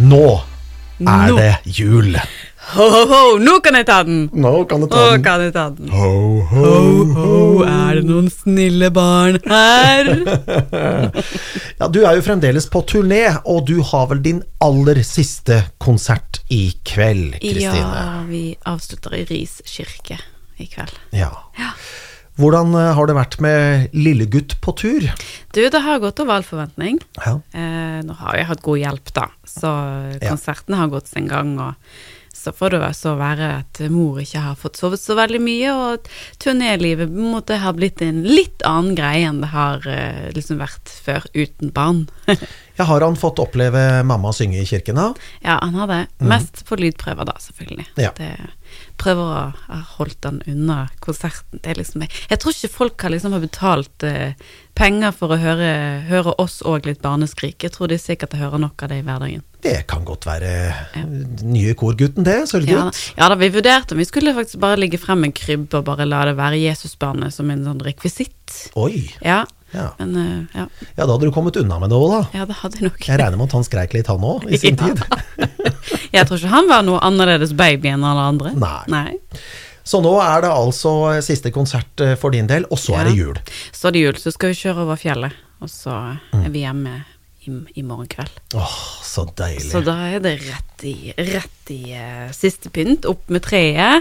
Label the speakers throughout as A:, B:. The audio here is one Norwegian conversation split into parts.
A: Nå er
B: Nå.
A: det jul.
B: Ho, ho, ho, nå kan jeg ta den!
A: Nå kan du
B: Å,
A: ta den.
B: kan jeg ta den.
A: Ho, ho.
B: Ho, ho, er det noen snille barn her?
A: Ja, du er jo fremdeles på turné, og du har vel din aller siste konsert i kveld, Kristine.
B: Ja, vi avslutter i Ris kirke i kveld.
A: Ja. Hvordan eh, har det vært med lillegutt på tur?
B: Du, det har gått over all forventning.
A: Ja.
B: Eh, nå har jeg hatt god hjelp, da, så
A: Ja.
B: konserten har gått sin gang. og så får det så være at mor ikke har fått sovet så veldig mye, og turnélivet på en måte har blitt en litt annen greie enn det har eh, liksom vært før uten barn.
A: Ja, har han fått oppleve mamma synge i kirken, da?
B: ja, han har det. Mest på lydprøver, da, selvfølgelig.
A: Mhm. Ja.
B: Det, prøver å ha holdt han unna konserten. Det er liksom, jeg, jeg tror ikke folk har liksom har betalt eh, penger for å høre, høre oss og litt barneskrik. Jeg tror de sikkert hører nok av det i hverdagen.
A: Det kan godt være nye korgutten, det.
B: Ja, da-
A: Sølvgutt.
B: ja da, vi vurderte om vi skulle faktisk bare ligge frem en krybbe og bare la det være Jesusbarnet som en sånn rekvisitt.
A: Oi.
B: Ja,
A: Ja.
B: men eh, ja,
A: ja, da hadde du kommet unna med noe, da.
B: ja det hadde jeg nok.
A: Jeg regner med at han skreik litt, han òg, i sin
B: Ja.
A: tid.
B: Jeg tror ikke han var noe annerledes baby enn alle andre.
A: Nei. Så nå er det altså siste konsert eh, for din del, og så er det
B: Ja.
A: jul.
B: Så er det jul, så skal vi kjøre over fjellet, og så
A: Mm.
B: er vi hjemme i, i morgen kveld.
A: Åh, så deilig.
B: Så da er det rett i, rett i eh, siste pynt, opp med treet.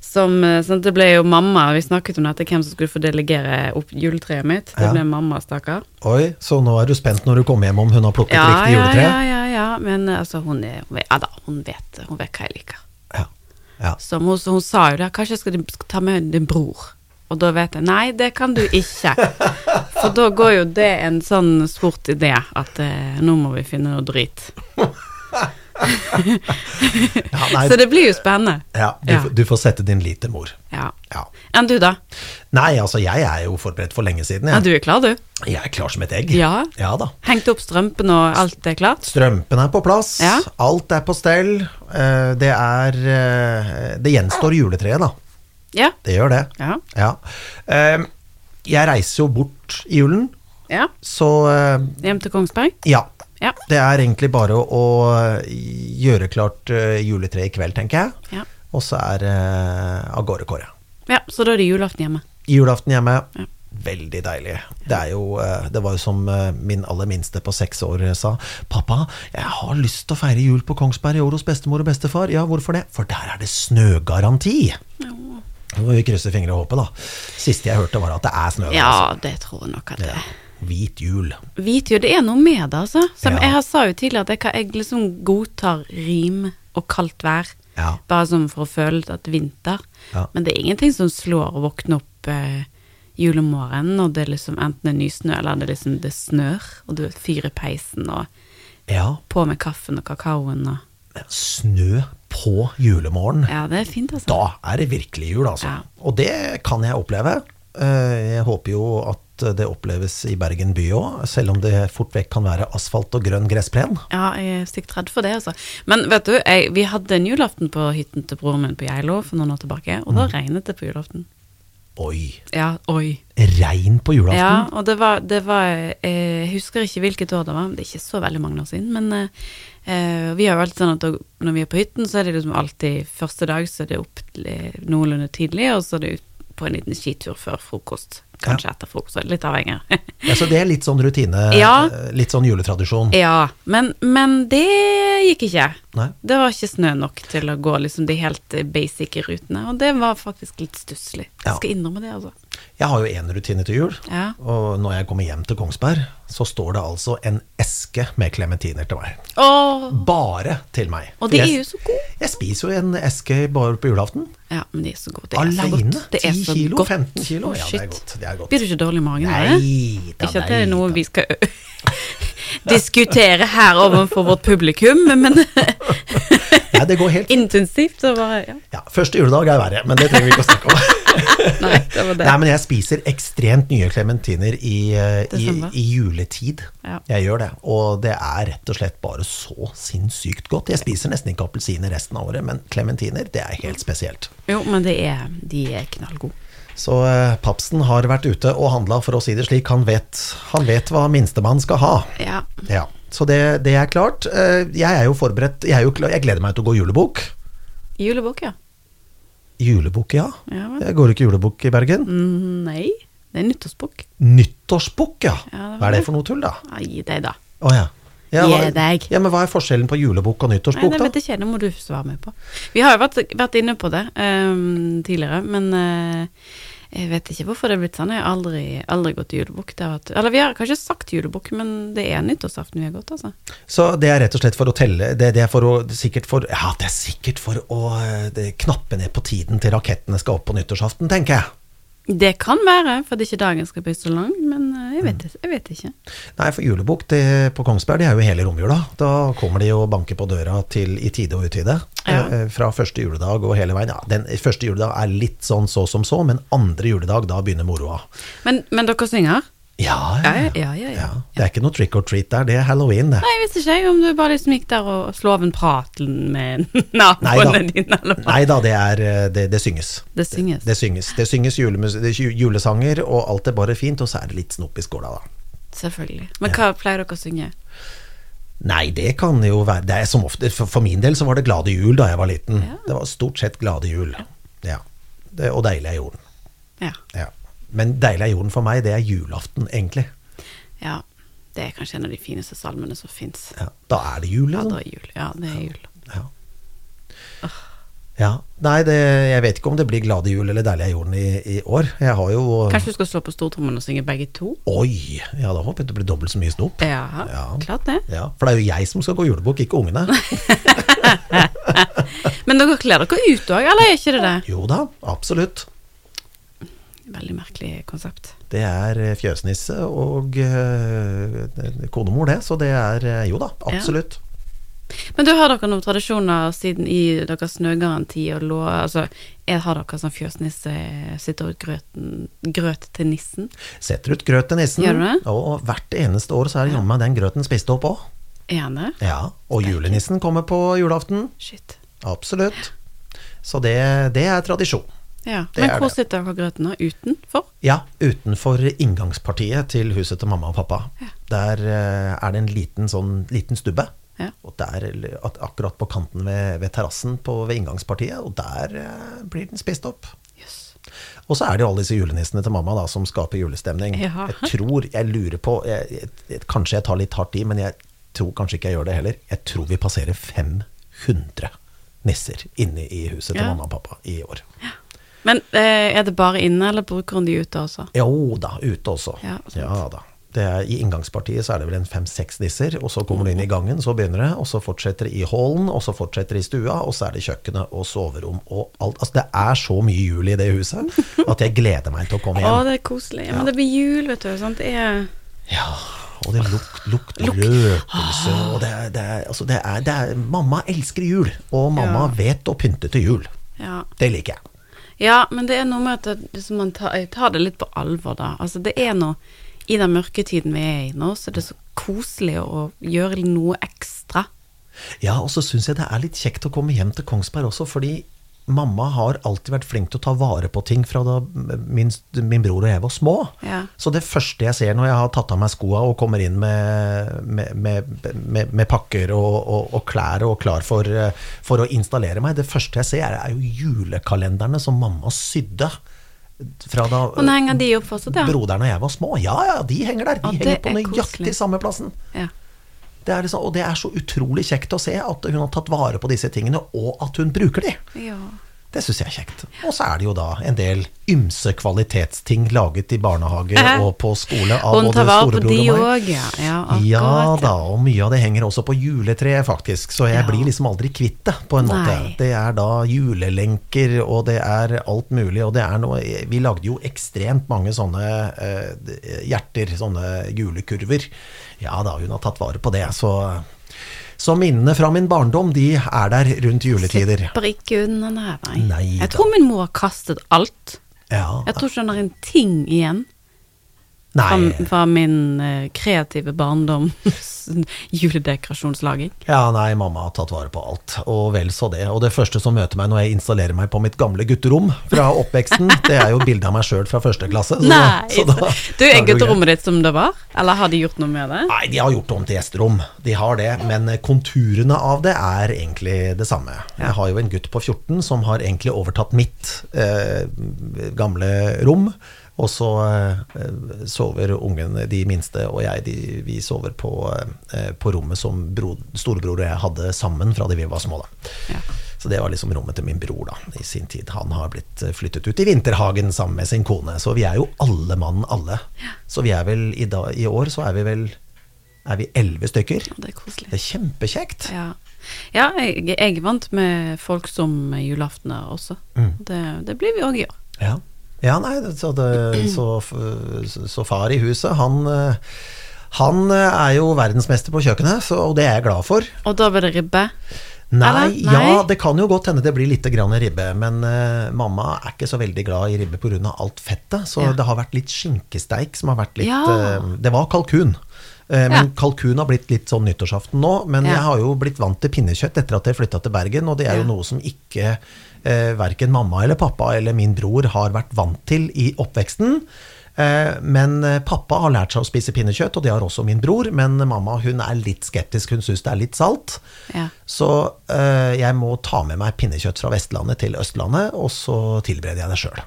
B: Som, eh, sånn, det ble jo mamma, vi snakket om dette, hvem som skulle få delegere opp juletreet mitt. Det
A: Ja.
B: ble mamma, stakkar.
A: Oi, så nå er du spent når du kommer hjem om hun har plukket riktig
B: ja,
A: juletre?
B: ja, ja, ja, men eh, altså, hun, er, hun, vet, ja, da, hun, vet, hun vet hva jeg liker.
A: Ja. ja.
B: Så hun, så hun sa jo det, kanskje jeg skal skal ta med din bror. Og da vet jeg, nei, det kan du ikke. For da går jo det en sånn sport idé at eh, nå må vi finne noe drit.
A: ja. Nei,
B: Så det blir jo spennende.
A: ja, du,
B: ja.
A: f- du får sette din lit til mor.
B: Ja.
A: Ja.
B: Enn du da?
A: Nei, altså, jeg er jo forberedt for lenge siden,
B: Ja,
A: jeg.
B: du er klar, du?
A: Jeg er klar som et egg.
B: Ja.
A: Ja da.
B: Hengt opp strømpen og alt er klart?
A: Strømpen er på plass,
B: Ja.
A: alt er på stell. Eh, Det er eh, Det gjenstår juletreet, da.
B: Ja.
A: Det gjør det.
B: Ja.
A: Eh, Jeg reiser jo bort i julen,
B: ja.
A: så eh,
B: Hjem til Kongsberg?
A: ja.
B: Ja.
A: Det er egentlig bare å, å gjøre klart eh, juletreet i kveld, tenker jeg.
B: Ja.
A: Og så er det av gårde, Kåre.
B: ja. Så da er det julaften hjemme?
A: Julaften hjemme,
B: Ja.
A: veldig deilig. Det, er jo, eh, det var jo som eh, min aller minste på seks år eh, sa. 'Pappa, jeg har lyst til å feire jul på Kongsberg i år hos bestemor og bestefar.' Ja, hvorfor det? For der er det snøgaranti! Nå må vi krysse fingre og håpe, da. Siste jeg hørte, var at det er snø. der,
B: Ja, det tror jeg nok at det
A: altså.
B: er.
A: Ja. Hvit jul.
B: vet jo, det er noe med det, altså. Som
A: Ja.
B: jeg har sa jo tidligere, at jeg, kan- jeg liksom godtar rim og kaldt vær.
A: Ja.
B: Bare som for å føle at det er vinter.
A: Ja.
B: Men det er ingenting som slår å våkne opp eh, julemorgen når det liksom enten er nysnø, eller det liksom det snør, og du fyrer peisen, og
A: Ja,
B: på med kaffen og kakaoen, og
A: snø på julemorgen.
B: Ja, det er fint, altså.
A: da er det virkelig jul, altså.
B: Ja.
A: Og det kan jeg oppleve. Eh, Jeg håper jo at det oppleves i Bergen by òg, selv om det fort vekk kan være asfalt og grønn gressplen.
B: Ja, jeg er sikkert redd for det, altså. Men vet du, jeg, vi hadde en julaften på hytten til broren min på Geilo for noen år tilbake, og da
A: Mm.
B: regnet det på julaften.
A: Oi,
B: Ja, oi.
A: regn på
B: Ja,
A: julaften?
B: og det var, det var eh, Jeg husker ikke hvilket år det var, men det er ikke så veldig mange år siden. Men eh, eh, vi har jo alltid sånn at da- når vi er på hytten, så er det liksom alltid første dag så er det opp til, eh, noenlunde tidlig, og så er det ut på en liten skitur før frokost. Kanskje etter frokost, så er det litt avhengig.
A: Ja, så det er litt sånn rutine,
B: Ja.
A: eh, litt sånn juletradisjon.
B: ja, men, men det gikk ikke.
A: Nei.
B: Det var ikke snø nok til å gå liksom de helt eh, basic rutene, og det var faktisk litt stusslig.
A: Ja.
B: Jeg skal innrømme det, altså.
A: Jeg har jo én rutine til jul,
B: Ja.
A: og når jeg kommer hjem til Kongsberg, så står det altså en eske med klementiner til meg.
B: Åh,
A: Bare til meg.
B: og de
A: For
B: er
A: jeg-
B: jo så gode.
A: Jeg spiser jo en eske bare på julaften.
B: Ja, men de er så gode. Det er så
A: Aleine?
B: godt. Det er
A: 10
B: så
A: kilo?
B: godt.
A: 15 kilo?
B: Å,
A: Ja, det
B: shit.
A: er godt. Det er godt.
B: Blir du ikke dårlig i magen av det?
A: Nei da,
B: Ikke at det er
A: nei
B: noe
A: da.
B: vi skal diskutere her overfor vårt publikum, men
A: Nei, det går helt
B: intensivt så bare ja.
A: ja, Første juledag er verre, men det trenger vi ikke å snakke om.
B: Nei, det var det.
A: Nei, men jeg spiser ekstremt nye klementiner i, eh, i,
B: Desember.
A: i juletid.
B: Ja.
A: Jeg gjør det. Og det er rett og slett bare så sinnssykt godt. Jeg spiser nesten ikke appelsiner resten av året, men klementiner, det er helt spesielt.
B: Jo, men det er, de er knallgode.
A: Så eh, Papsen har vært ute og handla, for å si det slik. Han vet, han vet hva minstemann skal ha.
B: Ja.
A: Ja. Så det, det er klart. Eh, Jeg er jo forberedt. Jeg, er jo klar, jeg gleder meg til å gå julebukk.
B: Julebukk, ja.
A: Julebukk, ja.
B: Ja vel.
A: Jeg går ikke julebukk i Bergen.
B: Mm, Nei, det er nyttårsbukk.
A: Nyttårsbukk, ja.
B: Ja, det var
A: Hva er det
B: det.
A: for noe tull, da?
B: Gi deg, da.
A: Å ja. Ja,
B: Gi deg.
A: ja, men hva er forskjellen på julebukk og
B: Nei,
A: nyttårsbukk,
B: det
A: da?
B: vet jeg ikke, det må du svare meg på. Vi har jo vært, vært inne på det ehm, tidligere, men eh, jeg vet ikke hvorfor det er blitt sånn. Jeg har aldri, aldri gått til julebukk. Det har vært- Eller vi har kanskje sagt julebukk, men det er nyttårsaften vi har gått, altså.
A: Så det er rett og slett for å telle Det, det er for å, sikkert for Ja, det er sikkert for å eh, det, knappe ned på tiden til rakettene skal opp på nyttårsaften, tenker jeg.
B: Det kan være, for det er ikke dagen skal bli så lang, men eh, jeg vet, jeg vet ikke.
A: Nei, for julebukk det- på Kongsberg, det er jo hele romjula. Da kommer de og banker på døra til i tide og utide.
B: Ja.
A: Eh, Fra første juledag og hele veien. Ja, den første juledag er litt sånn så som så, men andre juledag, da begynner moroa.
B: Men, men dere synger?
A: Ja,
B: Ja, ja, ja, ja.
A: Det er ikke noe trick or treat der, det er halloween, det.
B: Nei, jeg visste ikke jeg om du bare liksom gikk der og slo av en prat med
A: Neida.
B: naboene dine, eller hva.
A: Nei da, det, er, eh, det, det synges.
B: Det synges.
A: Det synges, det synges julemus det er ju- julesanger, og alt er bare fint, og så er det litt snop i skåla, da.
B: Selvfølgelig. Men hva pleier dere å synge?
A: Nei, det kan jo være det er som ofte, for, for min del så var det glade jul da jeg var liten.
B: Ja.
A: Det var stort sett glade jul. Ja. Det, og deilig er jorden.
B: Ja.
A: Ja. Men deilig er jorden for meg, det er julaften, egentlig.
B: ja. Det er kanskje en av de fineste salmene som fins.
A: Ja. Da er det jul,
B: Ja,
A: liksom.
B: det er jul. Ja, det er jul.
A: Ja. ja. Nei, det, jeg vet ikke om det blir glade jul eller deilig er jorden i, i år. Jeg har jo
B: Kanskje du skal slå på stortrommen og synge begge to?
A: Oi! Jeg hadde håpet det ble dobbelt så mye snop.
B: Ja,
A: Ja.
B: klart det.
A: Ja, for det er jo jeg som skal gå julebukk, ikke ungene.
B: Men dere kler dere ut òg, eller er ikke det det?
A: Jo da, absolutt.
B: Veldig merkelig konsept.
A: Det er eh, fjøsnisse og eh, konemor, det. Så det er eh, Jo da, absolutt.
B: Men du har dere noen tradisjoner siden i deres snøgaranti og lå Altså, er, har dere sånn fjøsnisse sitter ut grøten, grøt til nissen?
A: Setter ut grøt til nissen.
B: Gjør du det?
A: Og hvert eneste år så er det jammen meg den grøten spist opp òg.
B: Er han det?
A: Ja, og julenissen kommer på julaften.
B: Shit.
A: Absolutt. Så det, det er tradisjon.
B: Ja.
A: Det
B: Men
A: er
B: hvor
A: det.
B: sitter dere grøten da? Utenfor?
A: Ja, utenfor inngangspartiet til huset til mamma og pappa. Der eh, er det en liten, sånn, liten stubbe.
B: Ja.
A: Og der, eller at- akkurat på kanten ved, ved terrassen på- ved inngangspartiet, og der eh, blir den spist opp.
B: Jøss.
A: Og så er det jo alle disse julenissene til mamma da, som skaper julestemning.
B: Ja.
A: Jeg tror, jeg lurer på, jeg, jeg, kanskje jeg tar litt hardt i, men jeg tror kanskje ikke jeg gjør det heller. Jeg tror vi passerer 500 nisser inne i huset til
B: Ja.
A: mamma og pappa i år.
B: Men eh, er det bare inne, eller bruker hun de ute også?
A: Jo da, ute også.
B: Ja, sant.
A: da. Det er, I inngangspartiet så er det vel en fem-seks nisser, og så kommer du inn i gangen, så begynner det, og så fortsetter det i hallen, og så fortsetter det i stua, og så er det kjøkkenet og soverom og alt. Altså, det er så mye jul i det huset at jeg gleder meg til å komme
B: Å,
A: hjem.
B: det er koselig. Ja, Men det blir jul, vet du. Sant? Det er
A: Ja, og det lukter lukt, røkelse og det er, det, er, altså det, er, det er Mamma elsker jul, og mamma
B: Ja.
A: vet å pynte til jul.
B: ja.
A: Det liker jeg.
B: ja, men det er noe med at det- liksom man tar, jeg tar det litt på alvor, da. Altså, det er noe I den mørke tiden vi er i nå, så er det så koselig å gjøre noe ekstra.
A: Ja, og så syns jeg det er litt kjekt å komme hjem til Kongsberg også, fordi mamma har alltid vært flink til å ta vare på ting fra da min, min bror og jeg var små.
B: Ja.
A: Så det første jeg ser når jeg har tatt av meg skoa og kommer inn med, med, med, med, med pakker og, og, og klær og klar for, eh, for å installere meg, det første jeg ser er, er jo julekalenderne som mamma sydde. Fra da
B: Og nå henger de opp fortsatt, ja.
A: broderen og jeg var små. Ja, ja, de henger der. De
B: Ja, det
A: henger på
B: er
A: nøyaktig
B: koselig.
A: samme plassen.
B: ja.
A: Det er liksom, og det er så utrolig kjekt å se at hun har tatt vare på disse tingene, og at hun bruker de.
B: ja.
A: Det syns jeg er kjekt. Og så er det jo da en del ymse kvalitetsting laget i barnehage
B: Eh.
A: og på skole av
B: Og hun
A: både
B: tar vare på
A: storebror
B: de
A: og meg.
B: òg, ja. Ja,
A: Ja
B: akkurat.
A: da, og mye av det henger også på juletreet, faktisk. Så jeg
B: Ja.
A: blir liksom aldri kvitt det, på en måte.
B: Nei.
A: Det er da julelenker, og det er alt mulig, og det er noe Vi lagde jo ekstremt mange sånne eh, hjerter, sånne julekurver. Ja da, hun har tatt vare på det, så Så minnene fra min barndom, de er der rundt juletider.
B: Slipper ikke unna, nei. nei.
A: Nei
B: jeg
A: da.
B: tror min mor har kastet alt.
A: Ja.
B: Jeg tror ikke hun har en ting igjen.
A: Nei.
B: Fra, fra min eh, kreative barndoms juledekorasjonslaging.
A: Ja, nei, mamma har tatt vare på alt, og vel så det. Og det første som møter meg når jeg installerer meg på mitt gamle gutterom fra oppveksten, det er jo bilde av meg sjøl fra første klasse. Så,
B: Nei!
A: så da-
B: du,
A: da
B: er
A: det jo greit.
B: gutterommet ditt som det var? Eller har de gjort noe med det?
A: Nei, de har gjort det om til gjesterom. De har det, Men konturene av det er egentlig det samme. Jeg har jo en gutt på 14 som har egentlig overtatt mitt eh, gamle rom. Og så eh, sover ungene, de minste og jeg, de, vi sover på, eh, på rommet som bro, storebror og jeg hadde sammen fra de vi var små. da.
B: Ja.
A: Så det var liksom rommet til min bror da, i sin tid. Han har blitt eh, flyttet ut i vinterhagen sammen med sin kone. Så vi er jo alle mann alle. Så vi er vel i, dag, i år så er vi vel er vi elleve stykker.
B: Ja, Det er koselig.
A: Det er kjempekjekt.
B: Ja, ja jeg, jeg er vant med folk som julaftener også.
A: Mm.
B: Det, det blir vi òg i år.
A: Ja. ja, nei, det- så, det, så, f- så far i huset, han eh, han eh, er jo verdensmester på kjøkkenet, så, og det er jeg glad for.
B: Og da blir det ribbe.
A: Nei,
B: Eller? Nei.
A: ja, det kan jo godt hende det blir litt grann ribbe, men eh, mamma er ikke så veldig glad i ribbe pga. alt fettet, så
B: Ja.
A: det har vært litt skinkesteik som har vært litt
B: Ja.
A: eh, Det var kalkun. Eh, Men
B: Ja.
A: kalkun har blitt litt sånn nyttårsaften nå. Men
B: Ja.
A: jeg har jo blitt vant til pinnekjøtt etter at jeg flytta til Bergen, og det er jo
B: Ja.
A: noe som ikke eh, verken mamma eller pappa eller min bror har vært vant til i oppveksten. Eh, men eh, pappa har lært seg å spise pinnekjøtt, og det har også min bror. Men mamma hun er litt skeptisk, hun syns det er litt salt.
B: Ja.
A: Så eh, jeg må ta med meg pinnekjøtt fra Vestlandet til Østlandet, og så tilbereder jeg det sjøl.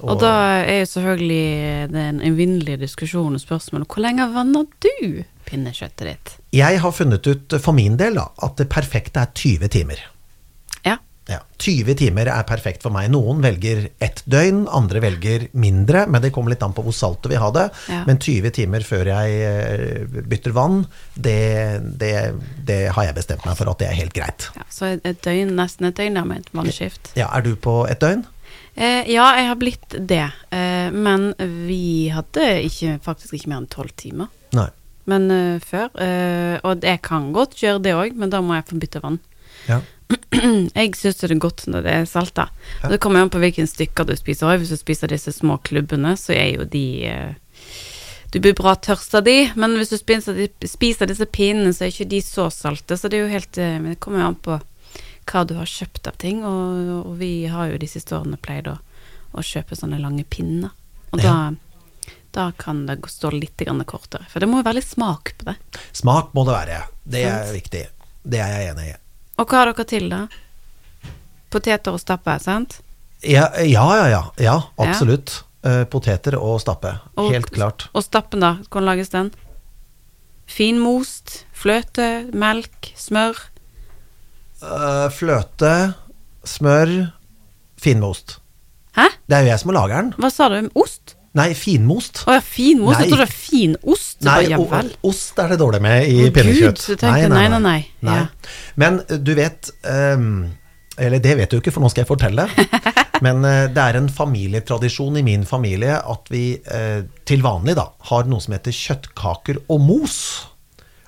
B: Og, da er jo selvfølgelig den evinnelige diskusjonen og spørsmålet hvor lenge vanner du pinnekjøttet ditt?
A: Jeg har funnet ut for min del da, at det perfekte er 20 timer.
B: Ja.
A: Ja, 20 timer er perfekt for meg. Noen velger ett døgn, andre velger mindre, men det kommer litt an på hvor salt du vil ha det.
B: Ja.
A: Men 20 timer før jeg eh, bytter vann, det, det, det har jeg bestemt meg for at det er helt greit.
B: ja. Så et- et døgn, nesten et døgn da med et vannskift.
A: Ja, er du på ett døgn?
B: Eh, ja, jeg har blitt det. Eh, men vi hadde ikke, faktisk ikke mer enn tolv timer.
A: Nei.
B: Men eh, før. Eh, og jeg kan godt gjøre det òg, men da må jeg få bytte vann.
A: Ja.
B: Jeg syns det er godt når det er salta. Og Det kommer jo an på hvilke stykker du spiser òg. Hvis du spiser disse små klubbene, så er jo de eh, Du blir bra tørst av de, men hvis du spiser, de- spiser disse pinnene, så er ikke de så salte. Så det er jo helt eh, Men det kommer jo an på hva du har kjøpt av ting, og, og vi har jo de siste årene pleid å, å kjøpe sånne lange pinner. Og
A: Ja.
B: da, da kan det gå- stå litt grann kortere. For det må jo være litt smak på det.
A: Smak må det være. Det er
B: Sant.
A: viktig. Det er jeg enig i.
B: Og hva har dere til, da? Poteter og stappe, sant?
A: Ja, ja, ja. ja, ja absolutt. Eh, poteter og stappe.
B: Og-
A: Helt klart.
B: Og stappen, da? Hvordan lages den? Finmost, fløte, melk, smør.
A: Eh, fløte, smør, finmost.
B: Hæ?
A: Det er jo jeg som lager den.
B: Hva sa du? Ost?
A: Nei, finmost.
B: Å ja, finmost. Jeg
A: Nei.
B: trodde det var finost.
A: Nei,
B: ja
A: o-
B: vel.
A: ost er det dårlig med i
B: Å, Gud,
A: pinnekjøtt.
B: så tenkte jeg, nei, nei, nei. Ja.
A: Men eh, du vet ehm, Eller det vet du ikke, for nå skal jeg fortelle. Men eh, det er en familietradisjon i min familie at vi eh, til vanlig da har noe som heter kjøttkaker og mos.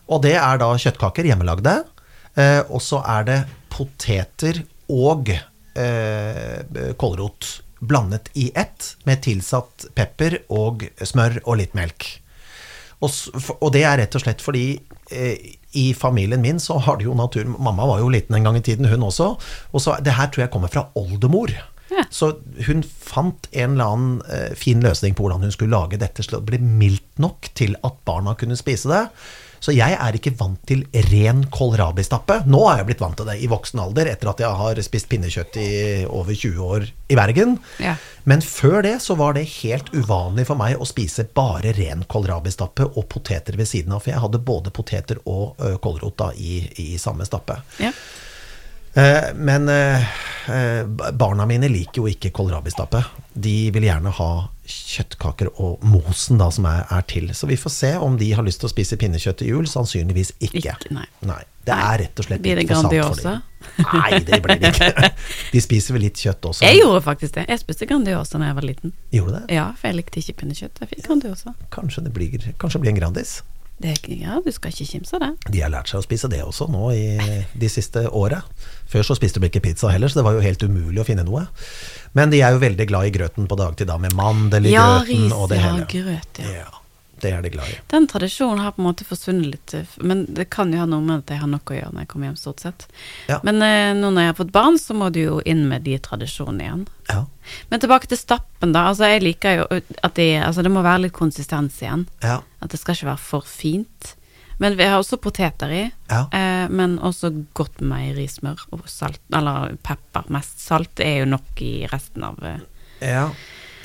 A: Og det er da kjøttkaker, hjemmelagde. eh, og så er det poteter og eh, kålrot blandet i ett, med tilsatt pepper og smør og litt melk. Og, s- for- og det er rett og slett fordi eh, i familien min så har det jo natur Mamma var jo liten en gang i tiden, hun også. Og så det her tror jeg kommer fra oldemor.
B: Ja.
A: Så hun fant en eller annen eh, fin løsning på hvordan hun skulle lage dette slik at det ble mildt nok til at barna kunne spise det. Så jeg er ikke vant til ren kålrabistappe. Nå er jeg blitt vant til det i voksen alder, etter at jeg har spist pinnekjøtt i over 20 år i Bergen.
B: Ja.
A: Men før det så var det helt uvanlig for meg å spise bare ren kålrabistappe og poteter ved siden av, for jeg hadde både poteter og ø, kålrot da i, i samme stappe.
B: Ja.
A: Eh, men eh, eh, ba- barna mine liker jo ikke kålrabistappe. De vil gjerne ha kjøttkaker og mosen da som er, er til. Så vi får se om de har lyst til å spise pinnekjøtt til jul. Sannsynligvis ikke.
B: Ikke, nei.
A: Det er rett og slett
B: Blir det
A: litt for sant for
B: Grandiosa?
A: dem. Nei, det blir det ikke. De spiser vel litt kjøtt også.
B: Jeg gjorde faktisk det. Jeg spiste Grandiosa da jeg var liten.
A: Gjorde det?
B: Ja, for jeg likte ikke pinnekjøtt. Jeg fikk Grandiosa.
A: Kanskje det blir, kanskje det blir en Grandis.
B: Det, er ikke- ja, du skal ikke kimse av det.
A: De har lært seg å spise det også nå i de siste åra. Før så spiste de ikke pizza heller, så det var jo helt umulig å finne noe. Men de er jo veldig glad i grøten på dagtid, da, med mandel i
B: Ja,
A: grøten
B: ris,
A: og det
B: ja,
A: hele.
B: grøt, ja.
A: Ja. Det er de glad i.
B: Den tradisjonen har på en måte forsvunnet litt, eh, f- men det kan jo ha noe med at jeg har nok å gjøre når jeg kommer hjem, stort sett.
A: Ja.
B: Men eh, nå når jeg har fått barn, så må du jo inn med de tradisjonene igjen.
A: Ja,
B: Men tilbake til stappen, da. Altså, jeg liker jo at de, altså, det må være litt konsistens igjen.
A: ja,
B: At det skal ikke være for fint. Men vi har også poteter i,
A: ja.
B: eh, men også godt meierismør og salt, eller pepper. Mest salt er jo nok i resten av eh,
A: ja.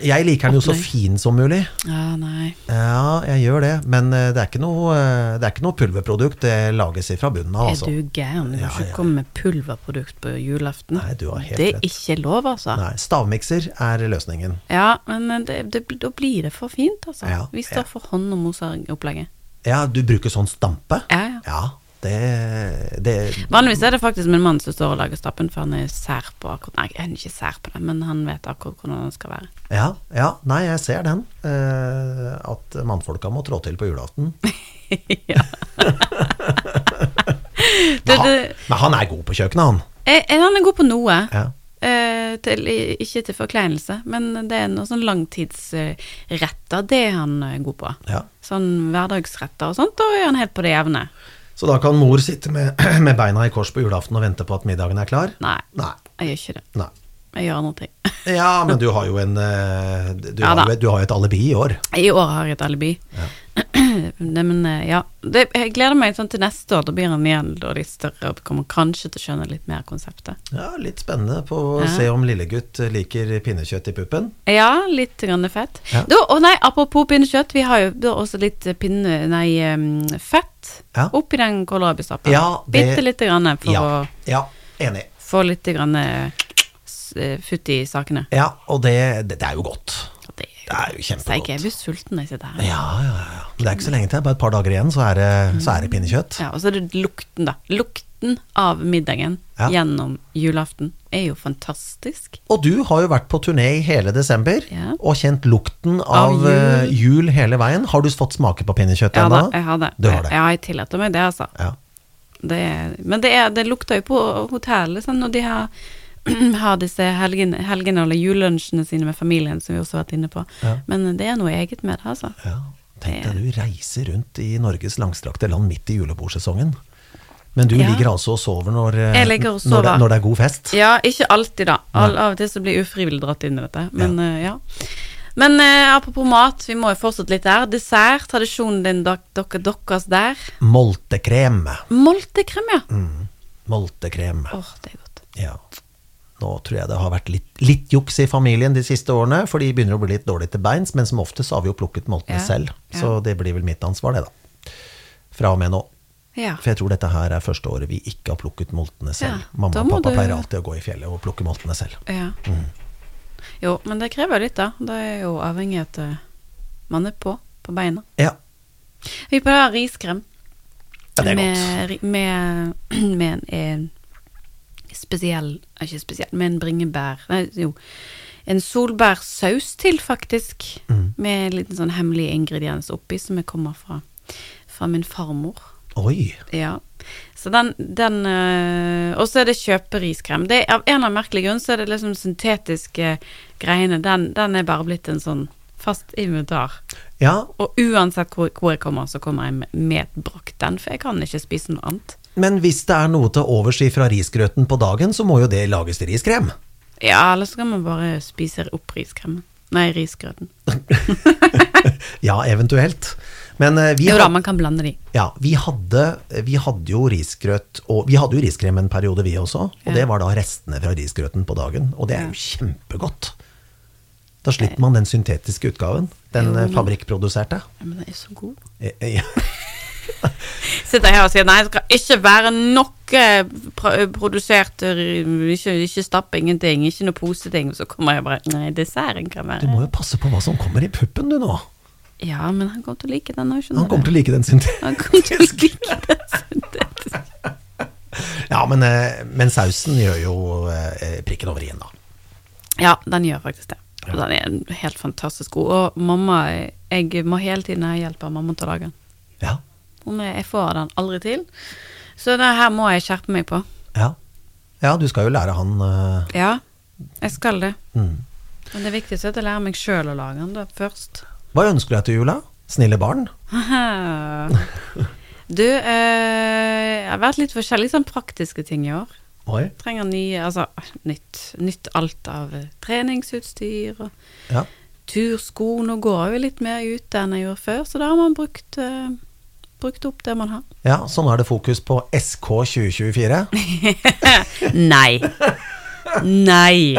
A: Jeg liker den jo så
B: Opplegg.
A: fin som mulig.
B: Ja, nei.
A: Ja, jeg gjør det. Men eh, det er ikke noe, eh, det er ikke noe pulverprodukt. Det lages fra bunnen av,
B: Er
A: altså.
B: du gæren? Du
A: Ja,
B: kan ikke
A: ja.
B: komme med pulverprodukt på julaften.
A: Nei, du har helt
B: det er
A: rett.
B: ikke lov, altså.
A: Nei, stavmikser er løsningen.
B: Ja, men eh, det, det, da blir det for fint, altså.
A: Ja,
B: Vi
A: ja.
B: står for hånd og moser opplegget.
A: Ja, du bruker sånn stampe?
B: Ja, ja.
A: Ja, det, det
B: Vanligvis er det faktisk min mann som står og lager stappen, for han er sær på akkurat Nei, han er ikke sær på det, men han vet akkurat hvordan den skal være.
A: Ja, ja. Nei, jeg ser den. Eh, at mannfolka må trå til på julaften.
B: Det,
A: Men han,
B: det,
A: men han er god på kjøkkenet, han.
B: jeg, jeg- han er god på noe.
A: Ja.
B: Eh, til, i- ikke til forkleinelse, men det er noen sånn langtidsretter, det er han eh, god på.
A: Ja.
B: Sånn hverdagsretter og sånt, da er han helt på det jevne.
A: Så da kan mor sitte med, med beina i kors på julaften og vente på at middagen er klar?
B: Nei,
A: Nei.
B: jeg gjør ikke det.
A: Nei.
B: Jeg gjør andre ting.
A: Ja, men du har jo en eh, Du,
B: Ja
A: har,
B: da.
A: jo, et- du har jo et alibi i år.
B: I år har jeg et alibi. Nei, men eh, ja. Det, jeg gleder meg sånn til neste år. Da blir han igjen da litt større og kommer kanskje til å skjønne litt mer konseptet.
A: Ja, Litt spennende på å
B: Ja.
A: se om lillegutt liker pinnekjøtt i puppen.
B: Ja, litt grann fett.
A: Ja.
B: Da, å nei, apropos pinnekjøtt, vi har jo da også litt eh, pinne... Nei, em, fett
A: Ja.
B: oppi den kålrabistappen.
A: Ja, det-
B: Bitte lite grann for
A: Ja,
B: å
A: ja, enig.
B: få litt grann eh, s- eh, futt i sakene.
A: Ja, og det, det, det er jo godt.
B: Det
A: Det er jo
B: Steik, jeg
A: kjempegodt.
B: blir sulten når jeg sitter her.
A: Ja, ja, ja. Men det er ikke så lenge til. Bare et par dager igjen, så er det, så er det pinnekjøtt.
B: Ja, og så er det lukten, da. Lukten av middagen
A: Ja.
B: gjennom julaften er jo fantastisk.
A: Og du har jo vært på turné i hele desember
B: Ja.
A: og kjent lukten
B: Av
A: av, eh, jul hele veien. Har du fått smake på pinnekjøtt
B: Ja da,
A: ennå?
B: jeg har det.
A: Du har det.
B: Ja, jeg tillater meg det, altså.
A: Ja.
B: Det er, men det, er, det lukter jo på hotellet sånn, når de har, har disse helgene, helgene eller julelunsjene sine med familien, som vi også har vært inne på.
A: Ja.
B: Men det er noe eget med det, altså.
A: Ja. Tenk deg du reiser rundt i Norges langstrakte land midt i julebordsesongen. Men du
B: Ja.
A: ligger altså og sover når, eh,
B: Jeg ligger og
A: når, det,
B: sover.
A: når det er god fest?
B: Ja, ikke alltid, da. Al- av og til så blir jeg ufrivillig dratt inn i dette. Men eh, ja. Men eh, apropos mat, vi må jo fortsette litt der. Dessert, tradisjonen din, dok- dere, deres der.
A: Moltekrem.
B: Moltekrem, ja.
A: Mm.
B: Åh,
A: Moltekrem.
B: det er godt.
A: Ja. Nå tror jeg det har vært litt, litt juks i familien de siste årene, for de begynner å bli litt dårlige til beins, men som oftest har vi jo plukket moltene
B: Ja,
A: selv.
B: ja.
A: Så det blir vel mitt ansvar, det, da. Fra og med nå.
B: Ja.
A: For jeg tror dette her er første året vi ikke har plukket moltene selv.
B: Ja,
A: Mamma
B: da
A: og
B: må
A: pappa
B: du-
A: pleier alltid å gå i fjellet og plukke moltene selv.
B: ja.
A: Mm.
B: Jo, men det krever litt, da. Det er jo avhengig av at eh, man er på, på beina.
A: Ja,
B: Vi prøver riskrem
A: ja det er godt.
B: med, ri- med, med en, en eh, spesiell Ikke spesiell, med en bringebær Nei, jo. En solbærsaus til, faktisk.
A: Mm.
B: Med en liten sånn hemmelig ingrediens oppi, som jeg kommer fra, fra min farmor.
A: Oi.
B: Ja. Så den, den øh, Og så er det kjøperiskrem. Det er, av en eller annen merkelig grunn så er det liksom syntetiske eh, greiene. Den, den er bare blitt en sånn fast inventar.
A: Ja,
B: Og uansett hvor, hvor jeg kommer, så kommer jeg med- med brakt den, for jeg kan ikke spise noe annet.
A: men hvis det er noe til overs i fra risgrøten på dagen, så må jo det lages til riskrem.
B: Ja, eller så kan man bare spise opp riskremen. Nei, risgrøten.
A: Ja, eventuelt. Men eh, vi
B: Jo
A: har
B: da, man kan blande de.
A: Ja, vi hadde, vi hadde jo risgrøt, og vi hadde jo riskrem en periode vi også, og
B: Ja.
A: det var da restene fra risgrøten på dagen, og det er jo kjempegodt. Da slipper man den syntetiske utgaven, den
B: Jo,
A: eh,
B: men-
A: fabrikkproduserte.
B: Ja, men den er så god.
A: Eh, eh, ja.
B: Sitter her og sier nei, det skal ikke være noe pro- produsert eh, Ikke, ikke stappe ingenting, ikke noe poseting. Så kommer jeg bare Nei, desserten kan
A: Du
B: være
A: må jo passe på hva som kommer i puppen du nå.
B: Ja, men han kommer til å like den òg, skjønner
A: Han kommer
B: du.
A: til å like den
B: Han kommer til å
A: syntetiske.
B: like den. syntetiske.
A: Ja, men, eh, men sausen gjør jo eh, prikken over i-en da.
B: Ja, den gjør faktisk det. Og Den er helt fantastisk god. Og mamma, jeg må hele tiden ha hjelp av mamma til å lage den.
A: Ja,
B: Hun er, jeg får den aldri til. Så det her må jeg skjerpe meg på.
A: ja. Ja, du skal jo lære han... eh,
B: Ja, jeg skal det.
A: Mm.
B: Men det viktigste er at jeg lærer meg sjøl å lage den da, først.
A: Hva ønsker du deg til jula? Snille barn?
B: Haha. Du, eh, jeg har vært litt forskjellig sånn praktiske ting i år.
A: Oi.
B: Trenger nye, altså nytt, nytt alt av eh, treningsutstyr og
A: Ja.
B: tursko. Nå går jeg jo litt mer ute enn jeg gjorde før, så da har man brukt, eh, brukt opp det man har.
A: ja, sånn er det fokus på SK 2024.
B: Nei. Nei.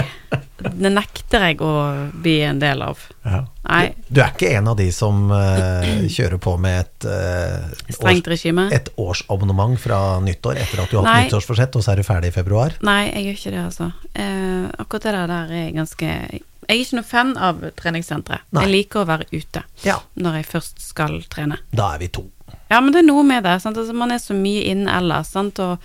B: Det nekter jeg å bli en del av.
A: Ja.
B: Nei.
A: Du er ikke en av de som eh, kjører på med et, eh,
B: Strengt regime.
A: et årsabonnement fra nyttår etter at du har hatt
B: Nei.
A: nyttårsforsett, og så er du ferdig i februar?
B: Nei, jeg gjør ikke det, altså. Eh, akkurat det der, der er jeg ganske Jeg er ikke noe fan av treningssentre.
A: Nei.
B: Jeg liker å være ute
A: Ja.
B: når jeg først skal trene.
A: Da er vi to.
B: Ja, men det er noe med det. Sant? Altså, man er så mye inne ellers, sant? og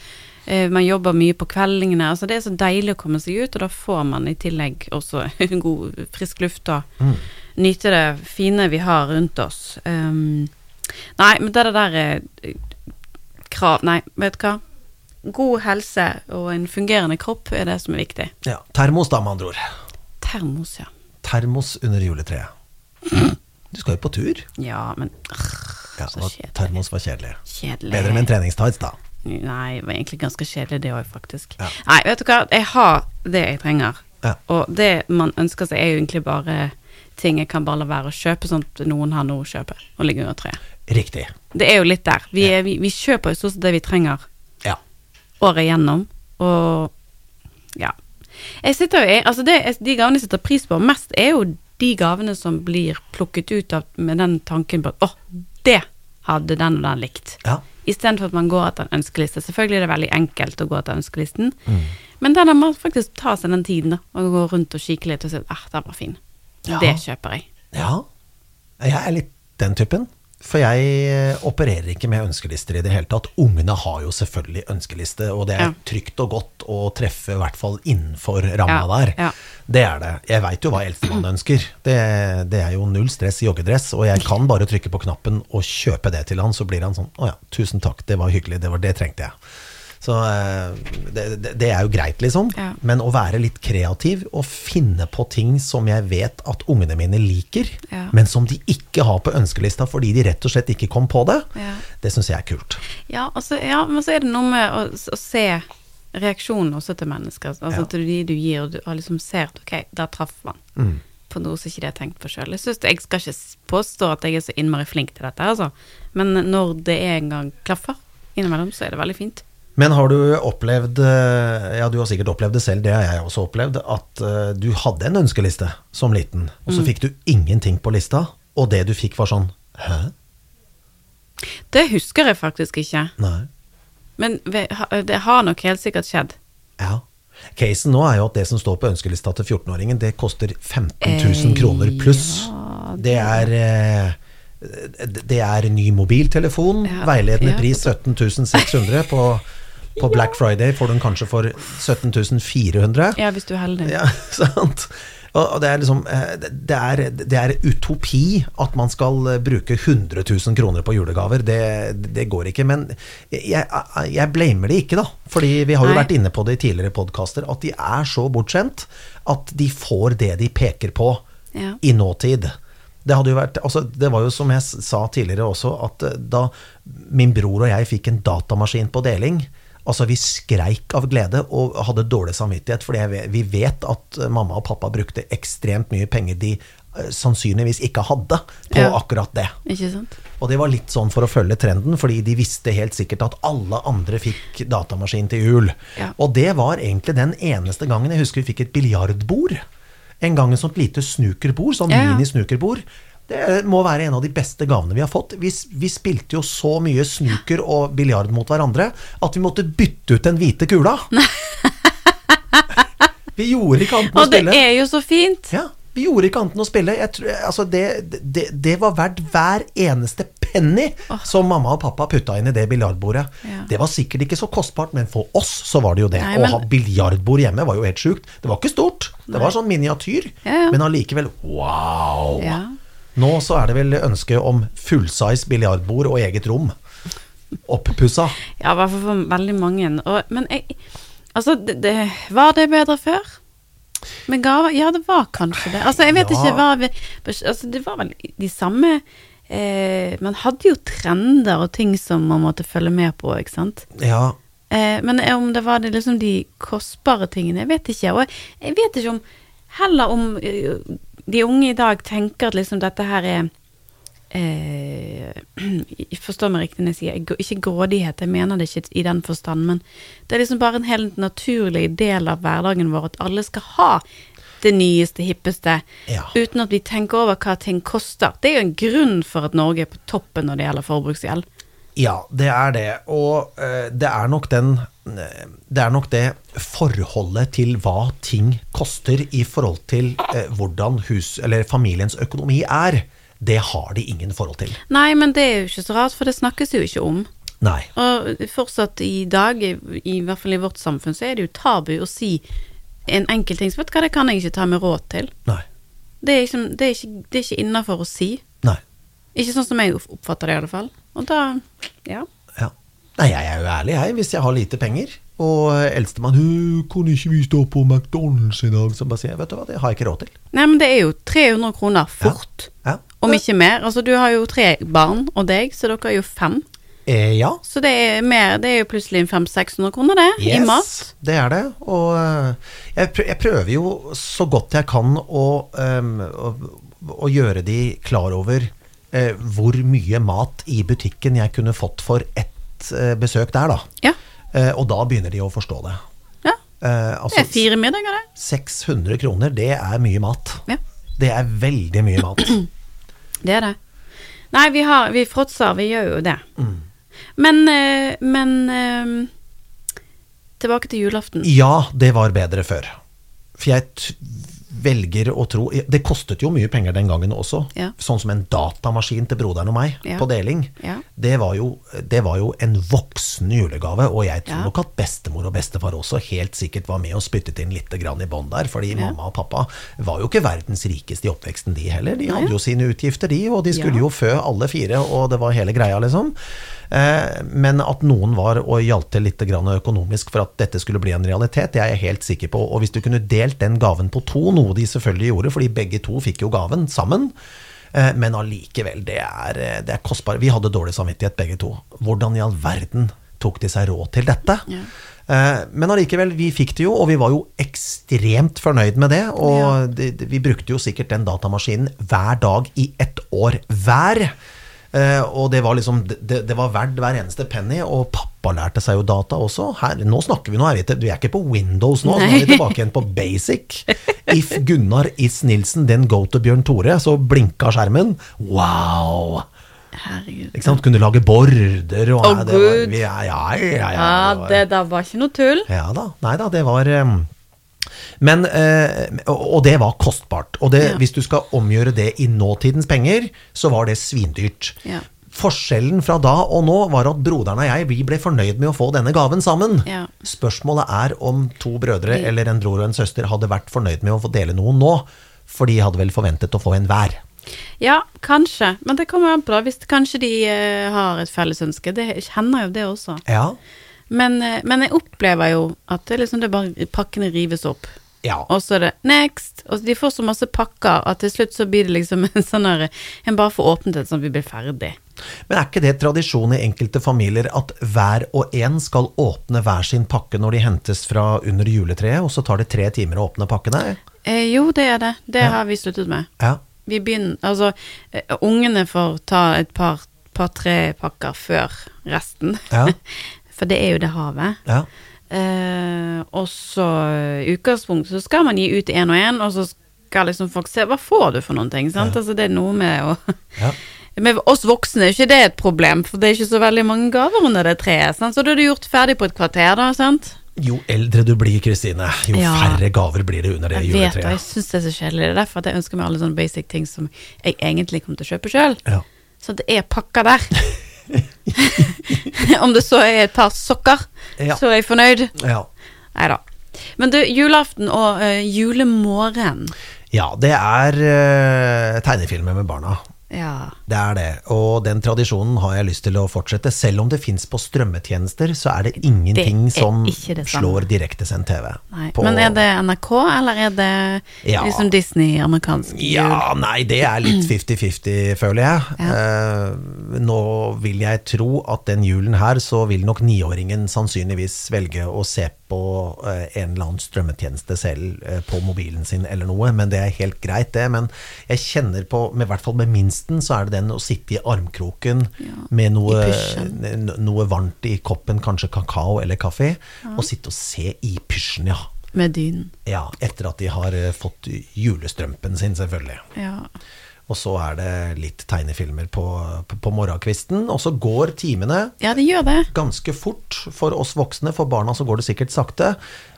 B: eh, man jobber mye på kveldingene. Altså, det er så deilig å komme seg ut, og da får man i tillegg også god, frisk luft og
A: Mm.
B: nyte det fine vi har rundt oss. Um, nei, men det der er krav Nei, vet du hva? God helse og en fungerende kropp er det som er viktig.
A: Ja. Termos, da, med andre ord.
B: Termos, ja.
A: Termos under juletreet. Du skal jo på tur.
B: Ja, men
A: Ja,
B: Så
A: og
B: kjedelig.
A: termos var kjedelig.
B: kjedelig.
A: Bedre med en treningstights, da.
B: Nei, det var egentlig ganske kjedelig det òg, faktisk.
A: Ja.
B: Nei, vet du hva, jeg har det jeg trenger.
A: Ja.
B: Og det man ønsker seg, er jo egentlig bare ting jeg kan bare la være å kjøpe, sånn at noen har noe å kjøpe og ligger under treet.
A: Riktig.
B: Det er jo litt der. Vi, er, vi, vi kjøper jo stort sett det vi trenger
A: Ja.
B: året igjennom, og ja. Jeg sitter jo, jeg, altså det, jeg- De gavene jeg setter pris på mest, er jo de gavene som blir plukket ut av, med den tanken på at åh, det hadde den og den likt.
A: Ja.
B: Istedenfor at man går etter en ønskeliste. Selvfølgelig er det veldig enkelt å gå etter ønskelisten,
A: Mm.
B: men der man faktisk tar seg den tiden da, og går rundt og kikker litt og sier at den var fin.
A: Ja.
B: Det kjøper jeg.
A: ja. Jeg er litt den typen. For jeg eh, opererer ikke med ønskelister i det hele tatt. Ungene har jo selvfølgelig ønskeliste, og det er
B: Ja.
A: trygt og godt å treffe i hvert fall innenfor ramma
B: Ja,
A: der.
B: ja.
A: Det er det. Jeg veit jo hva eldstemann ønsker. Det, det er jo null stress i joggedress, og jeg kan bare trykke på knappen og kjøpe det til han, så blir han sånn Å ja, tusen takk, det var hyggelig, det var det trengte jeg. Så eh, det, det, det er jo greit, liksom.
B: Ja.
A: Men å være litt kreativ og finne på ting som jeg vet at ungene mine liker,
B: Ja.
A: men som de ikke har på ønskelista fordi de rett og slett ikke kom på det,
B: Ja.
A: det syns jeg er kult.
B: Ja, altså, ja, men så er det noe med å, å se reaksjonen også til mennesker. Altså
A: Ja.
B: til de du gir, og, du, og liksom ser at ok, der traff man.
A: Mm.
B: På noe som ikke de har tenkt på sjøl. Jeg, synes- jeg skal ikke s- påstå at jeg er så innmari flink til dette, altså. Men når det en gang klaffer innimellom, så er det veldig fint.
A: Men har du opplevd, eh, ja du har sikkert opplevd det selv, det har jeg også opplevd, at eh, du hadde en ønskeliste som liten, og
B: Mm.
A: så fikk du ingenting på lista, og det du fikk var sånn Hæ?
B: Det husker jeg faktisk ikke.
A: Nei.
B: Men ve- ha- eh, det har nok helt sikkert skjedd.
A: Ja. Casen nå er jo at det som står på ønskelista til 14-åringen, det koster 15 000 kroner pluss. det er eh, det er ny mobiltelefon,
B: Ja,
A: veiledende
B: ja.
A: pris 17 600. På, på Black Friday får du den kanskje for 17 400.
B: Ja, hvis du er heldig.
A: Ja, sant? Og og det er liksom eh, det er, det er utopi at man skal eh, bruke 100 000 kroner på julegaver. Det, det går ikke. Men jeg, jeg blamer de ikke, da. Fordi vi har jo
B: Nei.
A: vært inne på det i tidligere podkaster, at de er så bortskjemt at de får det de peker på
B: Ja.
A: i nåtid. Det, hadde jo vært, altså, det var jo som jeg s- sa tidligere også, at eh, da min bror og jeg fikk en datamaskin på deling, altså vi skreik av glede og hadde dårlig samvittighet, fordi jeg, ve- vi vet at eh, mamma og pappa brukte ekstremt mye penger de eh, sannsynligvis ikke hadde på
B: Ja.
A: akkurat det.
B: Ikke sant?
A: Og det var litt sånn for å følge trenden, fordi de visste helt sikkert at alle andre fikk datamaskin til jul.
B: Ja.
A: Og det var egentlig den eneste gangen jeg husker vi fikk et biljardbord. En gang et sånt lite snukerbord, sånn
B: Ja, ja.
A: minisnukerbord. Det må være en av de beste gavene vi har fått. Vi, s- vi spilte jo så mye snuker og biljard mot hverandre at vi måtte bytte ut den hvite kula. vi gjorde ikke annet enn å
B: Og det
A: spille.
B: er jo så fint!
A: Ja, vi gjorde ikke annet enn å spille. Jeg tror, altså det, det, det var verdt hver eneste penny som mamma og pappa putta inn i det biljardbordet.
B: Ja.
A: Det var sikkert ikke så kostbart, men for oss så var det jo det.
B: Nei,
A: Å
B: men-
A: ha biljardbord hjemme var jo helt sjukt. Det var ikke stort, det var sånn miniatyr,
B: Ja, ja.
A: men allikevel wow!
B: Ja.
A: Nå så er det vel ønske om fullsize biljardbord og eget rom. Oppussa.
B: Ja, i hvert fall for veldig mange. Og, men jeg Altså, det, det, var det bedre før? Med gaver? Ja, det var kanskje det. Altså, jeg vet
A: Ja.
B: ikke hva vi Altså, det var vel de samme eh, Man hadde jo trender og ting som man måtte følge med på, ikke sant.
A: Ja,
B: Eh, men om det var det liksom de kostbare tingene, jeg vet ikke. Og jeg vet ikke om heller om eh, de unge i dag tenker at liksom dette her er eh, Forstå meg riktig når jeg sier jeg går- ikke grådighet, jeg mener det ikke i den forstand, men det er liksom bare en helt naturlig del av hverdagen vår at alle skal ha det nyeste, hippeste,
A: Ja.
B: uten at vi tenker over hva ting koster. Det er jo en grunn for at Norge er på toppen når det gjelder forbruksgjeld.
A: Ja, det er det. Og eh, det er nok den eh, Det er nok det forholdet til hva ting koster i forhold til eh, hvordan hus, eller familiens økonomi er. Det har de ingen forhold til.
B: Nei, men det er jo ikke så rart, for det snakkes jo ikke om.
A: Nei.
B: Og fortsatt i dag, i i hvert fall i vårt samfunn, så er det jo tabu å si en enkel ting. Så vet du hva, det kan jeg ikke ta meg råd til.
A: Nei.
B: Det er ikke, det er ikke, det er ikke innafor å si.
A: Nei.
B: Ikke sånn som jeg oppfatter det, i alle fall. Og da Ja.
A: Ja. Nei, jeg er jo ærlig, jeg, hvis jeg har lite penger. Og eh, eldstemann «Hø, 'Kan ikke vi stå på McDonald's i dag?' Så bare sier jeg 'Vet du hva, det har jeg ikke råd til'.
B: Nei, men det er jo 300 kroner fort.
A: Ja.
B: Om ikke mer. Altså, du har jo tre barn og deg, så dere er jo fem.
A: Eh, ja.
B: Så det er mer, det er jo plutselig en 500-600 kroner, det, i mat.
A: Det er det. Og eh, jeg prø- jeg prøver jo så godt jeg kan å, em, å, å gjøre de klar over eh, hvor mye mat i butikken jeg kunne fått for ett eh, besøk der, da.
B: Ja.
A: Eh, og da begynner de å forstå det.
B: ja.
A: Eh,
B: Det
A: altså,
B: er fire middager, det.
A: 600 kroner, det er mye mat.
B: Ja.
A: Det er veldig mye mat.
B: Det er det. Nei, vi, har, vi fråtser, vi gjør jo det.
A: Mm.
B: Men, eh, men eh, Tilbake til julaften.
A: Ja, det var bedre før. For jeg t velger å tro Det kostet jo mye penger den gangen også.
B: Ja.
A: Sånn som en datamaskin til broderen og meg
B: Ja.
A: på deling.
B: Ja.
A: Det, var jo, det var jo en voksen julegave, og jeg tror
B: Ja.
A: nok at bestemor og bestefar også helt sikkert var med og spyttet inn litt grann i bånn der. Fordi mamma og pappa var jo ikke verdens rikeste i oppveksten, de heller. De hadde jo sine utgifter, de, og de skulle jo
B: Ja.
A: fø alle fire, og det var hele greia, liksom. Eh, Men at noen var og hjalp til litt grann økonomisk for at dette skulle bli en realitet, det er jeg helt sikker på. Og hvis du kunne delt den gaven på to, noe de selvfølgelig gjorde, fordi begge to fikk jo gaven sammen. eh, Men allikevel, det er, eh, det er kostbart. Vi hadde dårlig samvittighet begge to. Hvordan i all verden tok de seg råd til dette?
B: Ja.
A: Eh, Men allikevel, vi fikk det jo, og vi var jo ekstremt fornøyd med det. Og
B: Ja.
A: det, det, vi brukte jo sikkert den datamaskinen hver dag i ett år hver. Eh, og det var liksom det, det var verdt hver eneste penny, og pappa lærte seg jo data også. Her, nå snakker vi nå, er vi, til, vi er ikke på Windows nå, så nå er vi tilbake igjen på basic. If Gunnar Is Nilsen den go to Bjørn Tore, så blinka skjermen. Wow!
B: Herregud.
A: Ikke sant? Kunne lage border og
B: Å,
A: nei, det var-
B: Gud.
A: vi- Ja, ja, ja, ja,
B: Ja,
A: var-
B: det der var ikke noe tull.
A: ja da. Nei da, det var ehm, men, eh, og og det var kostbart. Og det,
B: Ja.
A: hvis du skal omgjøre det i nåtidens penger, så var det svindyrt.
B: Ja.
A: Forskjellen fra da og nå var at broderen og jeg vi ble fornøyd med å få denne gaven sammen.
B: Ja.
A: Spørsmålet er om to brødre eller en bror og en søster hadde vært fornøyd med å få dele noe nå. For de hadde vel forventet å få en hver.
B: Ja, kanskje. Men det kommer an på, da. Hvis kanskje de eh, har et felles ønske. Det hender jo det også.
A: Ja.
B: Men, eh, men jeg opplever jo at det liksom det er bare pakkene rives opp.
A: Ja.
B: Og så er det 'next', og de får så masse pakker at til slutt så blir det liksom en sånn her En bare får åpnet en sånn at vi blir ferdig.
A: Men er ikke det tradisjon i enkelte familier at hver og en skal åpne hver sin pakke når de hentes fra under juletreet, og så tar det tre timer å åpne pakkene?
B: Eh, jo, det er det. Det har vi sluttet med.
A: Ja.
B: Vi begynner Altså, eh, ungene får ta et par, par-tre pakker før resten.
A: Ja.
B: For det er jo det havet.
A: Ja.
B: Eh, og så eh, i utgangspunktet så skal man gi ut én og én, og så skal liksom folk se hva får du for noen ting. Sant? Altså, det er noe med å
A: Ja.
B: Men for oss voksne er ikke det et problem, for det er ikke så veldig mange gaver under det treet. Sant? Så da er det gjort ferdig på et kvarter, da. sant?
A: Jo eldre du blir, Kristine, jo
B: Ja.
A: færre gaver blir det under det
B: Jeg vet, og jeg
A: juletreet.
B: syns det er så kjedelig. Det er derfor at jeg ønsker meg alle sånne basic ting som jeg egentlig kommer til å kjøpe sjøl.
A: Ja.
B: Så det er pakker der. Om det så er et par sokker,
A: Ja.
B: så er jeg fornøyd.
A: Ja.
B: Nei da. Men du, julaften og uh, julemorgen
A: ja, det er eh, tegnefilmer med barna.
B: Ja.
A: Det er det, og den tradisjonen har jeg lyst til å fortsette. Selv om det fins på strømmetjenester, så er det ingenting
B: Det er
A: som
B: ikke det samme.
A: slår direktesendt TV.
B: Nei.
A: På-
B: Men er det NRK, eller er det
A: Ja.
B: liksom Disney-amerikansk jul?
A: Ja, nei, det er litt 50-50, føler jeg. Eh, nå vil jeg tro at den julen her, så vil nok niåringen sannsynligvis velge å se på eh, en eller annen strømmetjeneste selv eh, på mobilen sin eller noe, men det er helt greit, det. Men jeg kjenner på, med, i hvert fall med minsten, så er det den å sitte i armkroken
B: Ja,
A: med noe,
B: i pysjen.
A: n- noe varmt i koppen, kanskje kakao eller kaffe, og sitte og se i pysjen, ja.
B: Med dynen.
A: Ja, etter at de har eh, fått julestrømpen sin, selvfølgelig.
B: Ja.
A: Og så er det litt tegnefilmer på, på, på morgenkvisten. Og så går timene
B: ja, det gjør det.
A: ganske fort for oss voksne, for barna så går det sikkert sakte.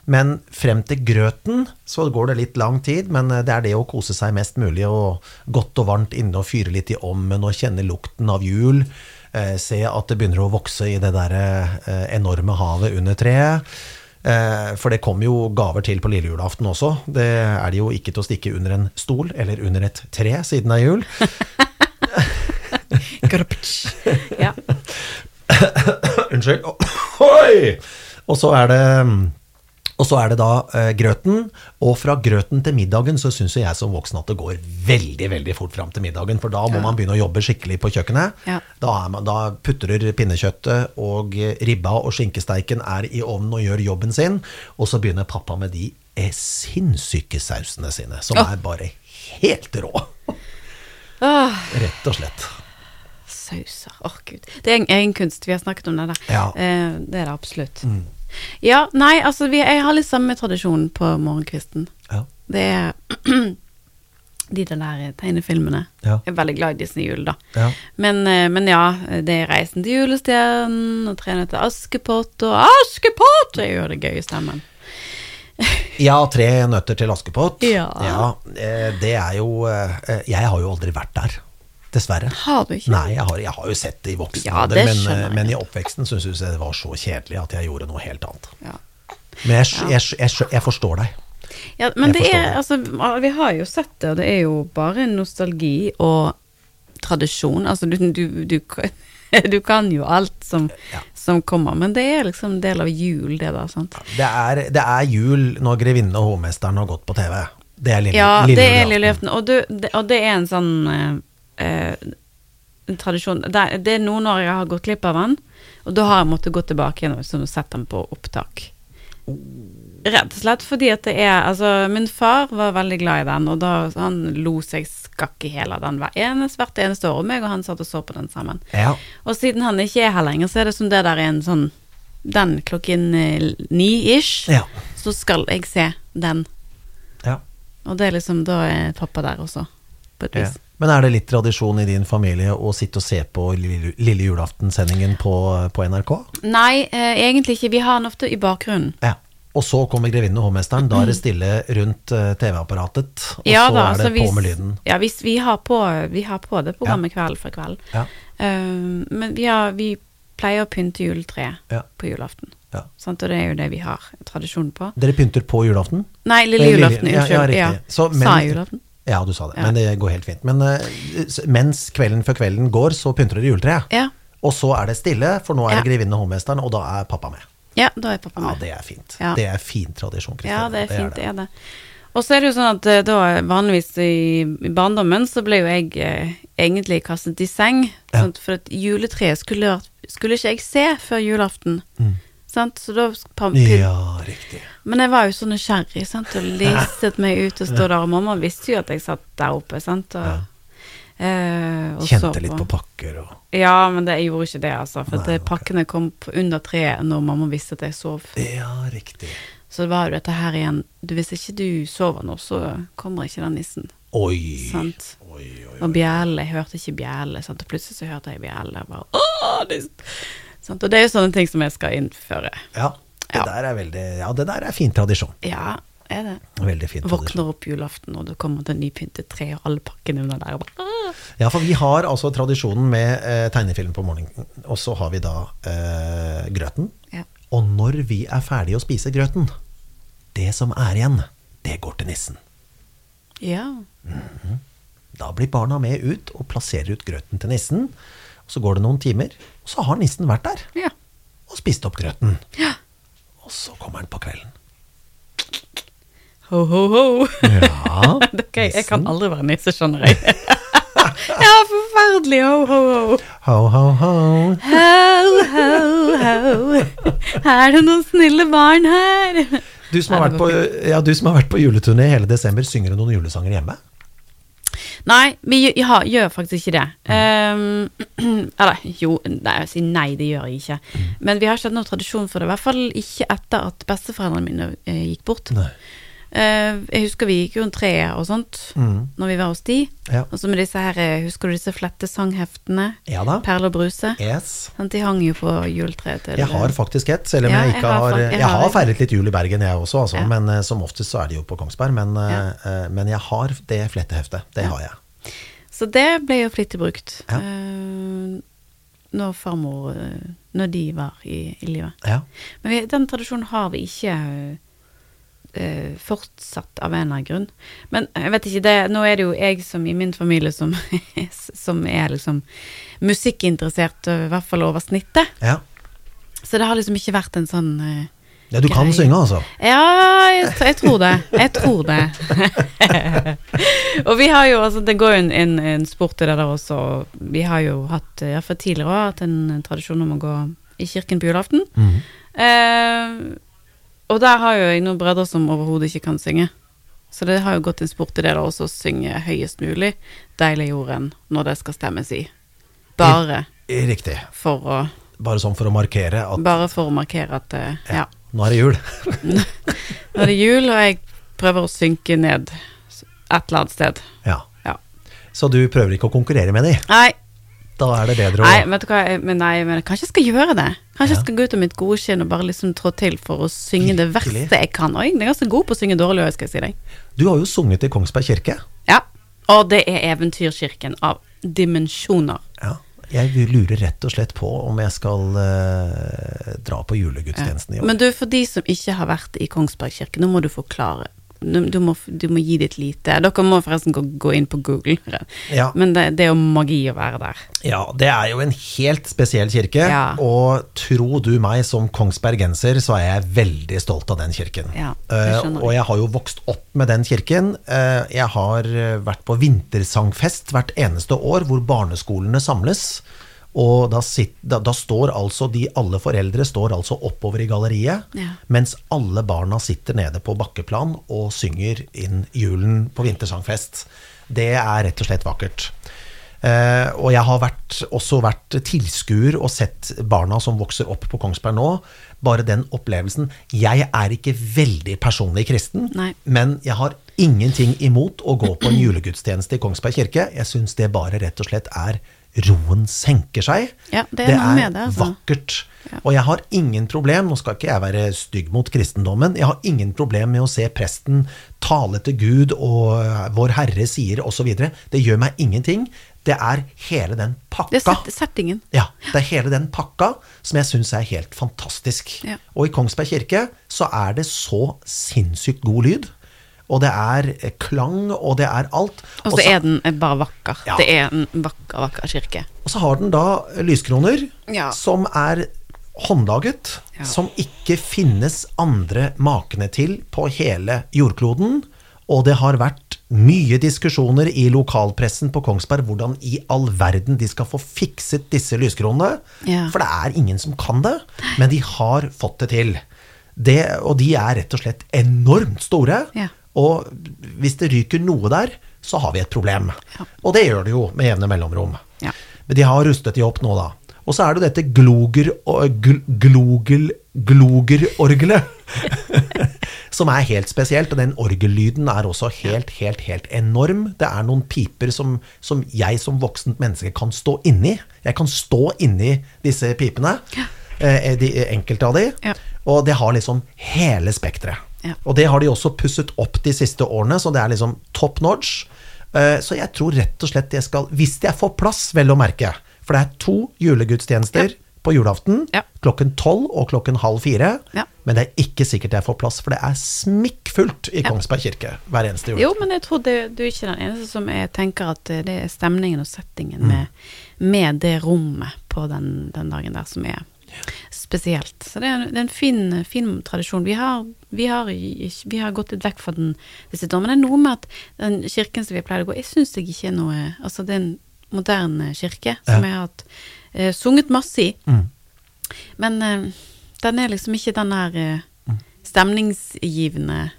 A: Men frem til grøten så går det litt lang tid, men eh, det er det å kose seg mest mulig og godt og varmt inne og fyre litt i ommen og kjenne lukten av jul. Eh, se at det begynner å vokse i det der eh, enorme havet under treet. Eh, for det kommer jo gaver til på lille julaften også. Det er det jo ikke til å stikke under en stol eller under et tre siden det er jul.
B: Ja.
A: Unnskyld. Oi! Og så er det mm, og så er det da eh, grøten, og fra grøten til middagen så syns jo jeg som voksen at det går veldig veldig fort fram til middagen, for da må man begynne å jobbe skikkelig på kjøkkenet.
B: Ja.
A: Da, er man, da putrer pinnekjøttet, og eh, ribba og skinkesteiken er i ovnen og gjør jobben sin, og så begynner pappa med de eh, sinnssyke sausene sine, som
B: Åh.
A: er bare helt rå,
B: Åh,
A: rett og slett.
B: sauser. Åh, gud. Det er en egen kunst. Vi har snakket om det der.
A: Ja.
B: Eh, det er det absolutt. Ja, nei, altså vi, jeg har litt samme tradisjon på morgenkvisten.
A: Ja.
B: Det er de der tegnefilmene.
A: Ja.
B: Jeg er veldig glad i Disney-jul, da.
A: Ja.
B: Men, eh, men ja, det er 'Reisen til julestjernen' og 'Tre nøtter til Askepott' og 'Askepott'! Det er jo det gøye stemmen.
A: Ja, tre nøtter til Askepott.
B: Ja.
A: eh, det er jo eh, Jeg har jo aldri vært der, dessverre.
B: Har du ikke?
A: Nei, jeg har, jeg har jo sett det i voksen
B: Ja,
A: alder,
B: det
A: men,
B: skjønner
A: eh,
B: jeg.
A: men i oppveksten syns jeg det var så kjedelig at jeg gjorde noe helt annet.
B: Ja.
A: Men jeg, skj- jeg, skj- jeg, skj- jeg forstår deg.
B: Ja, men
A: Jeg
B: det
A: forstår
B: er,
A: det.
B: altså, vi har jo sett det, og det er jo bare nostalgi og tradisjon. Altså, du, du, du, du kan jo alt som,
A: Ja.
B: som kommer, men det er liksom del av jul, det der, sant?
A: Det er, det er jul når Grevinnen og hovmesteren har gått på TV. Det er lille,
B: Ja,
A: lille
B: det er lille
A: julaften.
B: julaften, og, du- det- og det er en sånn eh, eh, en tradisjon. Det, det er noen år jeg har gått glipp av den, og da har jeg måttet gå tilbake igjen og liksom sett den på opptak. Rett og slett fordi at det er Altså, min far var veldig glad i den, og da han lo seg skakk i hæl av den hver eneste, hvert eneste år, og meg og han satt og så på den sammen.
A: Ja.
B: Og siden han ikke er her lenger, så er det som det der er en sånn Den klokken eh, ni-ish,
A: Ja.
B: så skal jeg se den.
A: Ja.
B: Og det er liksom, da er pappa der også, på et
A: Ja.
B: vis.
A: Men er det litt tradisjon i din familie å sitte og se på lille, lille julaften-sendingen på, på NRK?
B: Nei, eh, egentlig ikke. Vi har han ofte i bakgrunnen.
A: Ja. Og så kommer grevinnen og hovmesteren. Da er det stille rundt eh, TV-apparatet, og
B: Mm. Ja
A: så
B: da,
A: er det
B: altså
A: på
B: hvis-
A: med lyden.
B: Ja, hvis vi har på, vi har på det programmet kveld for kveld.
A: Ja.
B: Eh, men vi, har, vi pleier å pynte juletreet
A: Ja.
B: på julaften.
A: Ja.
B: Sant? Og det er jo det vi har tradisjon på.
A: Dere pynter på julaften?
B: Nei, lille
A: Eh, lille-
B: julaften.
A: ja, ja,
B: Unnskyld.
A: riktig.
B: Ja,
A: Så, men-
B: Sa jeg julaften?
A: Ja, du sa det,
B: Ja.
A: men det går helt fint. Men eh, s- mens kvelden før kvelden går, så pynter dere juletreet.
B: Ja.
A: Og så er det stille, for nå er det
B: Ja.
A: grevinnen og hovmesteren, og da er pappa med.
B: Ja, da er pappa med.
A: Ja, det er fint.
B: Ja.
A: Det er fin tradisjon, Kristina.
B: Ja, det er fint, det er det. Og så er det jo sånn at eh, da vanligvis i i barndommen så ble jo jeg eh, egentlig kastet i seng,
A: Ja.
B: sant? for at juletreet skulle, vært- skulle ikke jeg se før julaften. Sant? Så da pa-
A: Mm. Ja, riktig.
B: Men jeg var jo så nysgjerrig, sant, og listet meg ut og stod der, og mamma visste jo at jeg satt der oppe, sant, og, eh, og så
A: Kjente litt på pakker og
B: Ja, men det, jeg gjorde ikke det, altså, for at
A: Nei,
B: eh, pakkene kom på under treet når mamma visste at jeg sov.
A: Ja, riktig.
B: Så det var jo dette her igjen du, Hvis ikke du sover nå, så kommer ikke den nissen.
A: Oi.
B: Sant?
A: Oi, oi.
B: Og bjelle, jeg hørte ikke bjelle, sant? og plutselig så hørte jeg bjelle. Og, bare, Åh, det... Sant? og det er jo sånne ting som jeg skal innføre.
A: Ja, det
B: Ja.
A: der er veldig Ja, det der er fin tradisjon.
B: Ja, er det.
A: Veldig fin tradisjon.
B: Våkner opp julaften, og det kommer til nypyntet tre og alle pakkene under der. Og bare, Åh!
A: Ja, for vi har altså tradisjonen med eh, tegnefilm på morgenen, og så har vi da eh, grøten.
B: Ja.
A: Og når vi er ferdige å spise grøten, det som er igjen, det går til nissen.
B: ja.
A: Da blir barna med ut og plasserer ut grøten til nissen. Så går det noen timer, og så har nissen vært der
B: Ja.
A: og spist opp grøten.
B: ja.
A: Og så kommer han på kvelden.
B: Ho, ho, ho.
A: Ja,
B: Dere, jeg kan aldri være nisse, skjønner jeg. ja, forferdelig. Ho, ho, ho.
A: ho, ho, ho.
B: Ho, ho, ho. Er det noen snille barn her?
A: Du som, har vært på, ja, du som har vært på juleturné hele desember, synger du noen julesanger hjemme?
B: Nei, vi gjø- ja, gjør faktisk ikke det. Um, eller jo, nei, jeg sier nei, det gjør jeg ikke. Men vi har ikke hatt noen tradisjon for det. I hvert fall ikke etter at besteforeldrene mine eh, gikk bort.
A: Nei.
B: Eh, jeg husker vi gikk rundt treet og sånt
A: Mm.
B: når vi var hos de.
A: Ja.
B: Og så med disse her, eh, husker du disse flette sangheftene?
A: ja da.
B: Perle og bruse.
A: Yes.
B: Sant, de hang jo på juletreet til eh,
A: Jeg har faktisk et, selv om
B: Ja,
A: jeg ikke har
B: fak-
A: Jeg har
B: et.
A: feiret litt jul i Bergen, jeg også, altså,
B: Ja.
A: men eh, som oftest så er det jo på Kongsberg. Men, eh, eh, men jeg har det fletteheftet. Det har jeg.
B: Så det ble jo flittig brukt.
A: Ja.
B: eh, når farmor eh, Når de var i, i live.
A: Ja.
B: Men vi, den tradisjonen har vi ikke eh, fortsatt av en eller annen grunn. Men jeg vet ikke det, nå er det jo jeg som i min familie som, som er liksom musikkinteressert, i hvert fall over snittet.
A: Ja.
B: Så det har liksom ikke vært en sånn eh,
A: ja, du kan
B: Grei.
A: synge, altså.
B: ja, jeg, tr- jeg tror det. Jeg tror det. og vi har jo, altså det går jo en, en, en sport i det der også. og Vi har jo hatt, ja, for tidligere år, hatt en, en tradisjon om å gå i kirken på julaften.
A: Mhm.
B: Eh, og der har jo jeg noen brødre som overhodet ikke kan synge. Så det har jo gått en sport i det der også, å synge høyest mulig Deilig jorden når det skal stemmes i. Bare
A: Riktig.
B: for å,
A: Bare sånn for å markere at
B: bare for å markere at eh, ja.
A: nå er det jul.
B: Nå er det jul, og jeg prøver å synke ned s- et eller annet sted.
A: Ja.
B: Ja.
A: Så du prøver ikke å konkurrere med de.
B: Nei,
A: Da er det bedre å
B: nei, vet du hva? jeg- Men nei, men kanskje jeg skal gjøre det. Kanskje jeg skal gå ut av mitt gode skinn og bare liksom trå til for å synge det
A: Virkelig.
B: verste jeg kan. Og jeg er ganske god på å synge dårlig òg, skal jeg si deg.
A: Du har jo sunget i Kongsberg kirke.
B: Ja. Og det er Eventyrkirken av dimensjoner.
A: Ja. Jeg lurer rett og slett på om jeg skal eh, dra på julegudstjenesten i år.
B: Men du, for de som ikke har vært i Kongsberg kirke, nå må du forklare. Du, du, må, du må gi ditt lite. Dere må forresten gå, gå inn på Google.
A: Ja.
B: Men det, det er jo magi å være der.
A: Ja, det er jo en helt spesiell kirke,
B: Ja.
A: og tro du meg, som kongsbergenser, så er jeg veldig stolt av den kirken.
B: Ja, det
A: Eh,
B: skjønner jeg.
A: og jeg har jo vokst opp med den kirken. Eh, jeg har eh, vært på vintersangfest hvert eneste år, hvor barneskolene samles. Og da, sitt, da, da står altså de alle foreldre står altså oppover i galleriet,
B: Ja.
A: mens alle barna sitter nede på bakkeplan og synger inn julen på vintersangfest. Det er rett og slett vakkert. Eh, og jeg har vært, også vært tilskuer og sett barna som vokser opp på Kongsberg nå. Bare den opplevelsen. Jeg er ikke veldig personlig kristen,
B: Nei.
A: men jeg har ingenting imot å gå på en julegudstjeneste i Kongsberg kirke. Jeg syns det bare rett og slett er roen senker seg.
B: Ja, det er noe med det, altså.
A: vakkert. Og jeg har ingen problem, nå skal ikke jeg være stygg mot kristendommen, jeg har ingen problem med å se presten tale til Gud og eh, Vår Herre sier osv. Det gjør meg ingenting. Det er hele den
B: Det er
A: pakka.
B: set, settingen.
A: Ja, det er hele den pakka som jeg syns er helt fantastisk.
B: Ja.
A: Og i Kongsberg kirke så er det så sinnssykt god lyd. Og det er eh, klang, og det er alt.
B: Og så er den eh, bare vakker.
A: Ja.
B: Det er en vakker, vakker kirke.
A: Og så har den da lyskroner
B: Ja.
A: som er håndlaget,
B: Ja.
A: som ikke finnes andre makene til på hele jordkloden. Og det har vært mye diskusjoner i lokalpressen på Kongsberg hvordan i all verden de skal få fikset disse lyskronene.
B: Ja.
A: For det er ingen som kan det, men de har fått det til. Det, og de er rett og slett enormt store.
B: Ja.
A: Og hvis det ryker noe der, så har vi et problem.
B: Ja.
A: Og det gjør det jo med jevne mellomrom.
B: Ja.
A: Men de har rustet de opp nå, da. Og så er det jo dette gloger, og- eh, gl- glogel, glogerorgelet. som er helt spesielt, og den orgellyden er også helt, helt, helt enorm. Det er noen piper som, som jeg som voksent menneske kan stå inni. Jeg kan stå inni disse pipene, eh, de, enkelte av de.
B: Ja.
A: Og det har liksom hele spekteret.
B: Ja.
A: Og det har de også pusset opp de siste årene, så det er liksom top notch. Eh, Så jeg tror rett og slett jeg skal, hvis jeg får plass, vel å merke For det er to julegudstjenester på julaften
B: Ja.
A: klokken tolv og klokken halv fire.
B: Ja.
A: Men det er ikke sikkert jeg får plass, for det er smikkfullt i Kongsberg kirke hver eneste jul.
B: Jo, men jeg tror det, du er ikke den eneste som jeg tenker at eh, det er stemningen og settingen med, med det rommet på den, den dagen der som er spesielt. Så det er, en- det er en fin, fin tradisjon. Vi har, vi, har, i- vi har gått litt vekk fra den det siste året, men det er noe med at den kirken som vi pleide å gå, jeg syns jeg ikke er noe Altså, det er en moderne kirke som jeg har hatt, eh, sunget masse i. Men eh, den er liksom ikke den der eh, stemningsgivende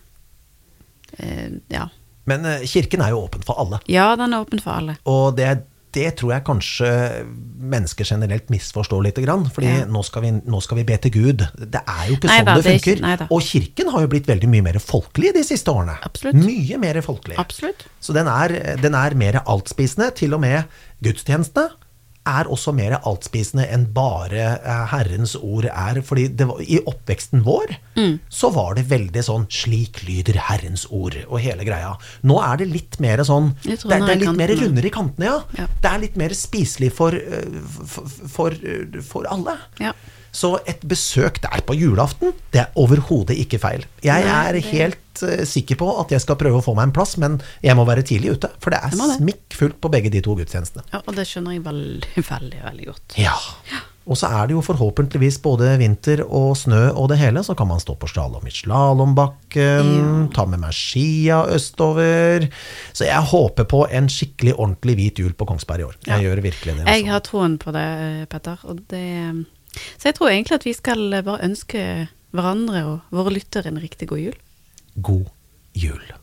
B: eh, Ja.
A: Men eh, kirken er jo åpen for alle.
B: Ja, den er åpen for alle.
A: Og det, det tror jeg kanskje mennesker generelt misforstår litt. Grann, fordi
B: Ja.
A: nå, skal vi, nå skal vi be til Gud. Det er jo ikke
B: Nei
A: sånn
B: da,
A: det
B: det er ikke-
A: funker.
B: nei da.
A: og kirken har jo blitt veldig mye mer folkelig de siste årene.
B: Absolutt.
A: Mye mer folkelig.
B: Absolutt.
A: Så den er, den er mer altspisende. Til og med gudstjenestene er også mer altspisende enn bare eh, Herrens ord er. fordi det var, i oppveksten vår
B: Mm.
A: så var det veldig sånn 'slik lyder Herrens ord' og hele greia. Nå er det litt mer sånn
B: Jeg tror
A: Det, er-
B: den
A: det
B: er i
A: er litt mer
B: kantene.
A: rundere i kantene, ja.
B: Ja.
A: Det er litt mer spiselig for, eh, for, for, eh, for alle.
B: Ja.
A: Så et besøk der på julaften, det er overhodet ikke feil. Jeg
B: Nei,
A: er
B: det-
A: helt eh, sikker på at jeg skal prøve å få meg en plass, men jeg må være tidlig ute, for det er
B: Du må det.
A: smikkfullt på begge de to gudstjenestene.
B: Ja, og det skjønner jeg veldig, veldig veldig godt.
A: Ja. Og så er det jo forhåpentligvis både vinter og snø og det hele, så kan man stå på slalåm i slalåmbakken, ta med meg skia østover. Så jeg håper på en skikkelig ordentlig hvit jul på Kongsberg i år. Jeg gjør virkelig det.
B: Jeg
A: altså.
B: har troen på det, eh, Petter. Og det, så jeg tror egentlig at vi skal eh, bare ønske hverandre og våre lyttere en riktig god jul.
A: God jul.